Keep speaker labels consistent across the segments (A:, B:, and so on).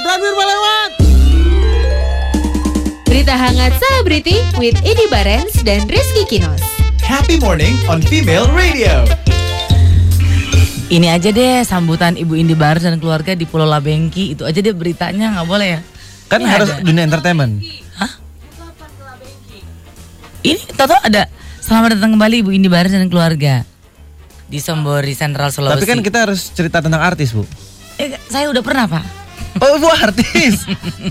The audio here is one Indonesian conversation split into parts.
A: driver melewat.
B: Berita hangat selebriti with Edi Barens dan Rizky Kinos.
C: Happy morning on Female Radio.
D: Ini aja deh sambutan Ibu Indi Barus dan keluarga di Pulau Labengki. Itu aja deh beritanya, nggak boleh ya?
C: Kan
D: Ini
C: harus
D: ada.
C: dunia entertainment.
D: Ini tahu ada selamat datang kembali Ibu Indi Barus dan keluarga di Sombori Central Sulawesi.
C: Tapi kan kita harus cerita tentang artis, Bu.
D: Eh, saya udah pernah pak.
C: Oh, Bu artis.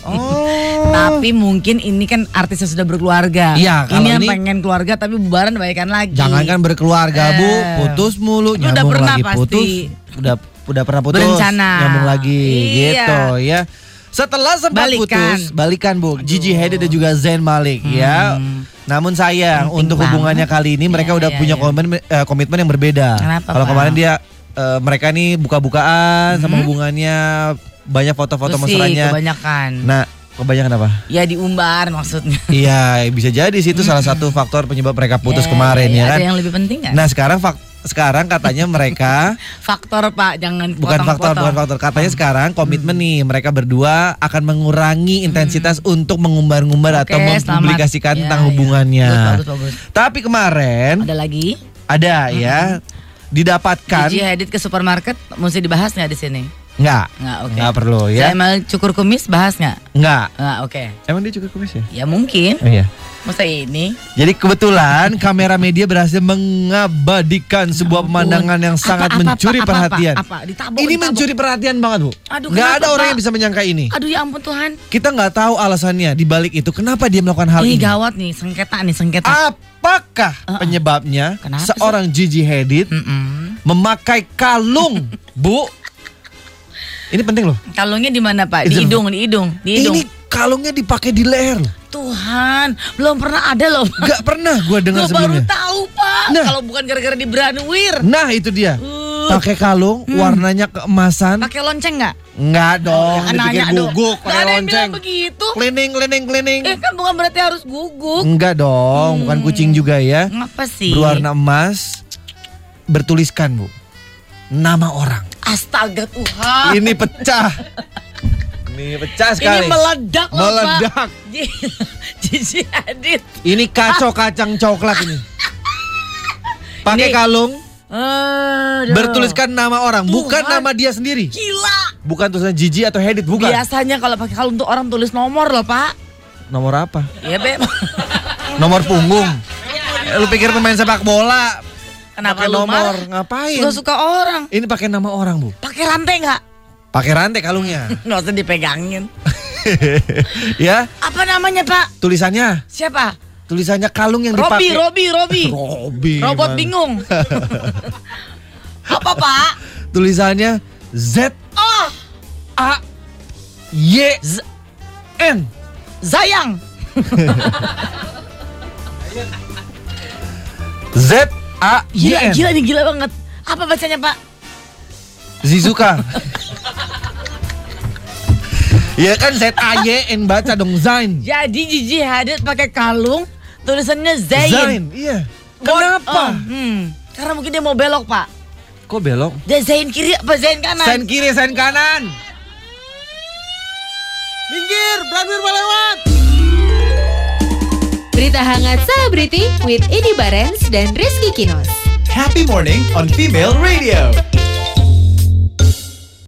C: Oh.
D: Tapi mungkin ini kan artis yang sudah berkeluarga.
C: Iya, kalau
D: ini yang
C: ini- kan
D: pengen keluarga tapi bubaran baikan lagi.
C: Jangankan berkeluarga, Bu,
D: Eh.
C: putus mulu,
D: Udah
C: nyambung
D: pernah
C: lagi
D: pasti.
C: putus. Udah udah pernah putus,
D: Berencana.
C: nyambung lagi
D: Iya.
C: gitu ya. Setelah sempat
D: Balikan.
C: putus, balikan Bu. Gigi Hadid dan juga Zayn Malik ya. Namun sayang
D: Hmm. Penting
C: untuk hubungannya kali ini mereka
D: Iya,
C: udah
D: iya,
C: punya
D: iya.
C: komitmen eh, komitmen yang berbeda.
D: Kenapa,
C: Kalau
D: Pak?
C: kemarin dia eh, mereka nih buka-bukaan sama hubungannya banyak foto-foto
D: Itu sih
C: mesranya.
D: kebanyakan.
C: Nah, kebanyakan apa?
D: Ya diumbar maksudnya.
C: Iya, bisa jadi sih itu salah satu faktor penyebab mereka putus
D: Eh,
C: kemarin ya kan.
D: Ada yang lebih penting nggak?
C: Nah sekarang fak- sekarang katanya mereka
D: faktor pak, jangan
C: bukan faktor
D: potong-potong. Hmm.
C: bukan faktor katanya sekarang komitmen nih mereka berdua akan mengurangi intensitas untuk mengumbar-ngumbar
D: Hmm. Oke,
C: atau
D: selamat.
C: mempublikasikan tentang
D: Ya, ya.
C: hubungannya.
D: Bagus, bagus, bagus.
C: Tapi kemarin
D: Ada Hmm. lagi?
C: ada ya didapatkan
D: Gigi Hadid ke supermarket mesti dibahas nggak di sini?
C: nggak
D: Nggak, oke.
C: nggak perlu
D: Saya
C: ya
D: mal cukur kumis bahas nggak?
C: nggak
D: Nggak, oke.
C: emang dia juga kumis ya?
D: Ya mungkin.
C: Oh, iya.
D: Masa ini?
C: Jadi kebetulan kamera media berhasil mengabadikan sebuah pemandangan yang sangat
D: Apa, apa, apa,
C: mencuri
D: apa,
C: perhatian.
D: apa? Ditabok,
C: ini
D: ditabok.
C: mencuri perhatian banget bu.
D: Aduh,
C: Nggak
D: kenapa,
C: ada orang
D: Pak?
C: yang bisa menyangka ini.
D: Aduh ya ampun Tuhan.
C: Kita nggak tahu alasannya di balik itu kenapa dia melakukan hal
D: ini
C: ini. Ah.
D: gawat nih, sengketa nih, sengketa.
C: Apakah
D: Uh-uh.
C: penyebabnya
D: Kenapa sih?
C: seorang Gigi Hadid
D: Mm-mm.
C: memakai kalung, bu? Ini penting loh.
D: Kalungnya di mana Pak? Di
C: Itu-
D: hidung, di hidung, di hidung.
C: Ini kalungnya dipakai di leher. loh.
D: Tuhan, belum pernah ada loh. Pak.
C: Nggak pernah gue dengar
D: Gua baru
C: sebelumnya.
D: tahu Pak.
C: Nah.
D: Kalau bukan gara-gara di Branwir.
C: Nah itu dia.
D: Uh.
C: Pakai kalung, warnanya keemasan.
D: Pakai lonceng nggak?
C: Enggak dong,
D: Jangan
C: dipikir
D: nanya dong.
C: Oh, guguk
D: Nggak
C: pakai
D: ada yang
C: lonceng.
D: bilang begitu.
C: Cleaning, cleaning, cleaning.
D: Eh kan bukan berarti harus guguk. Hmm.
C: Enggak dong, bukan kucing juga ya.
D: Ngapa sih?
C: Berwarna emas, bertuliskan bu, nama orang.
D: Astaga Tuhan.
C: Ini pecah. Ini pecah
D: Ah. Ini
C: Iya sekali.
D: meledak loh Pak.
C: Meledak.
D: Ji- Jiji Hadid.
C: Ini
D: Ah.
C: kacau kacang coklat ini. Pakai
D: Ini-
C: kalung,
D: Aduh.
C: bertuliskan nama orang, bukan
D: Tuhan.
C: nama dia sendiri.
D: Gila.
C: Bukan tulisan Gigi atau Hedit, bukan.
D: Biasanya kalau pakai kalung tuh orang tulis nomor loh Pak.
C: Nomor apa?
D: Iya Beb.
C: Nomor punggung. Lu pikir pemain sepak bola
D: Kenapa
C: pakai
D: lu
C: nomor?
D: marah?
C: Ngapain?
D: Suka suka orang.
C: Ini pakai nama orang, Bu.
D: Pakai rantai nggak?
C: Pakai rantai kalungnya.
D: Nggak usah dipegangin.
C: ya,
D: Apa namanya Pak?
C: tulisannya,
D: Siapa?
C: tulisannya kalung yang
D: Robi,
C: dipakai.
D: Robi, Robi.
C: Robi,
D: Robot
C: man.
D: bingung. Apa Pak?
C: Tulisannya Z
D: Oh,
C: A Y Z N.
D: Zayang.
C: Z A Y
D: Gila,
C: N.
D: gila nih, gila banget. Apa bacanya Pak?
C: Zizuka. ya kan Z A Y N baca dong Zain.
D: Jadi Gigi Hadid pakai kalung, tulisannya Zain.
C: Zain, iya.
D: Bon- Oh,
C: Kenapa?
D: hmm. Karena mungkin dia mau belok Pak.
C: Kok belok?
D: Dia Zain kiri apa Zain kanan?
C: Sen kiri, sen kanan.
A: Minggir, driver melewat.
B: Berita hangat selebriti with Edi Barens dan Rizky Kinos.
C: Happy morning on Female Radio.